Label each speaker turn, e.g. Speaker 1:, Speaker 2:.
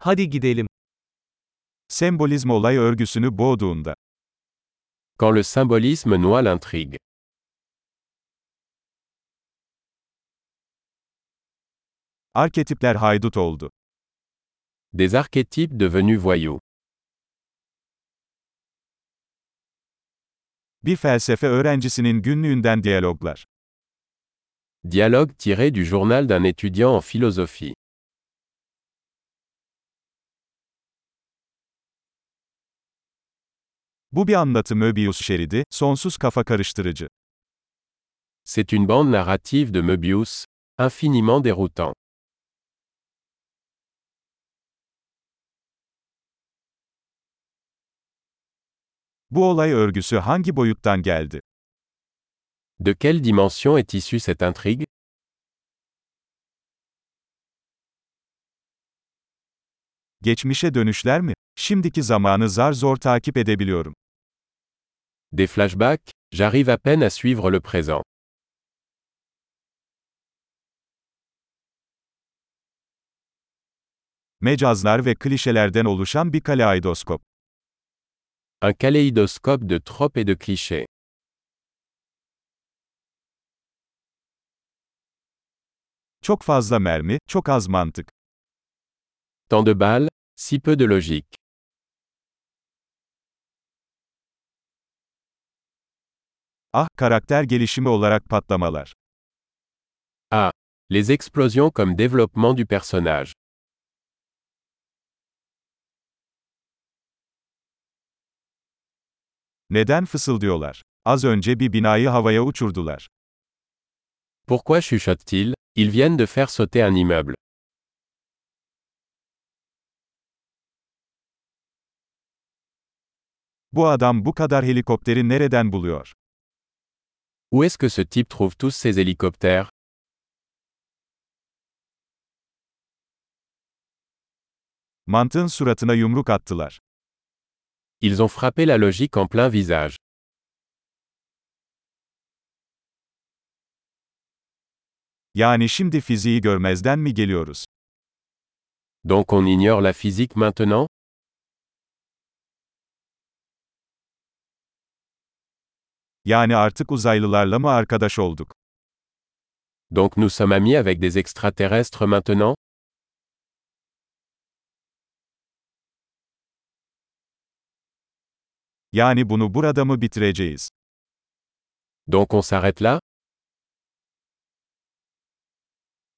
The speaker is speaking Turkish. Speaker 1: Hadi gidelim. Sembolizm olay örgüsünü boğduğunda,
Speaker 2: Quand le symbolisme noie l'intrigue.
Speaker 1: arketipler haydut oldu.
Speaker 2: Des archétypes devenus voyous.
Speaker 1: Bir felsefe öğrencisinin günlüğünden diyaloglar.
Speaker 2: Dialogue tiré du journal d'un étudiant en philosophie.
Speaker 1: Bu bir anlatı Möbius şeridi, sonsuz kafa karıştırıcı.
Speaker 2: C'est une bande narrative de Möbius, infiniment déroutant.
Speaker 1: Bu olay örgüsü hangi boyuttan geldi?
Speaker 2: De quelle dimension est issue cette intrigue
Speaker 1: Geçmişe dönüşler mi? Şimdiki zamanı zar zor takip edebiliyorum.
Speaker 2: Des flashbacks J'arrive à peine à suivre le présent.
Speaker 1: Mecazlar ve klişelerden oluşan bir kaleidoskop.
Speaker 2: Un kaléidoscope de tropes et de clichés.
Speaker 1: Çok fazla mermi, çok az mantık.
Speaker 2: Tant de balles, si peu de logique.
Speaker 1: Ah, karakter gelişimi olarak patlamalar.
Speaker 2: Les explosions comme développement du personnage.
Speaker 1: Neden fısıldıyorlar? Az önce bir binayı havaya uçurdular.
Speaker 2: Pourquoi chuchotent-ils Ils viennent de faire sauter un immeuble.
Speaker 1: Bu adam bu kadar helikopteri nereden buluyor?
Speaker 2: Où est-ce que ce type trouve tous ces hélicoptères
Speaker 1: Mantığın suratına yumruk attılar.
Speaker 2: Ils ont frappé la logique en plein visage.
Speaker 1: Yani şimdi fiziği görmezden mi geliyoruz?
Speaker 2: Donc on ignore la physique maintenant
Speaker 1: Yani artık uzaylılarla mı arkadaş olduk?
Speaker 2: Donc nous sommes amis avec des extraterrestres maintenant
Speaker 1: Yani bunu burada mı bitireceğiz?
Speaker 2: Donc on s'arrête là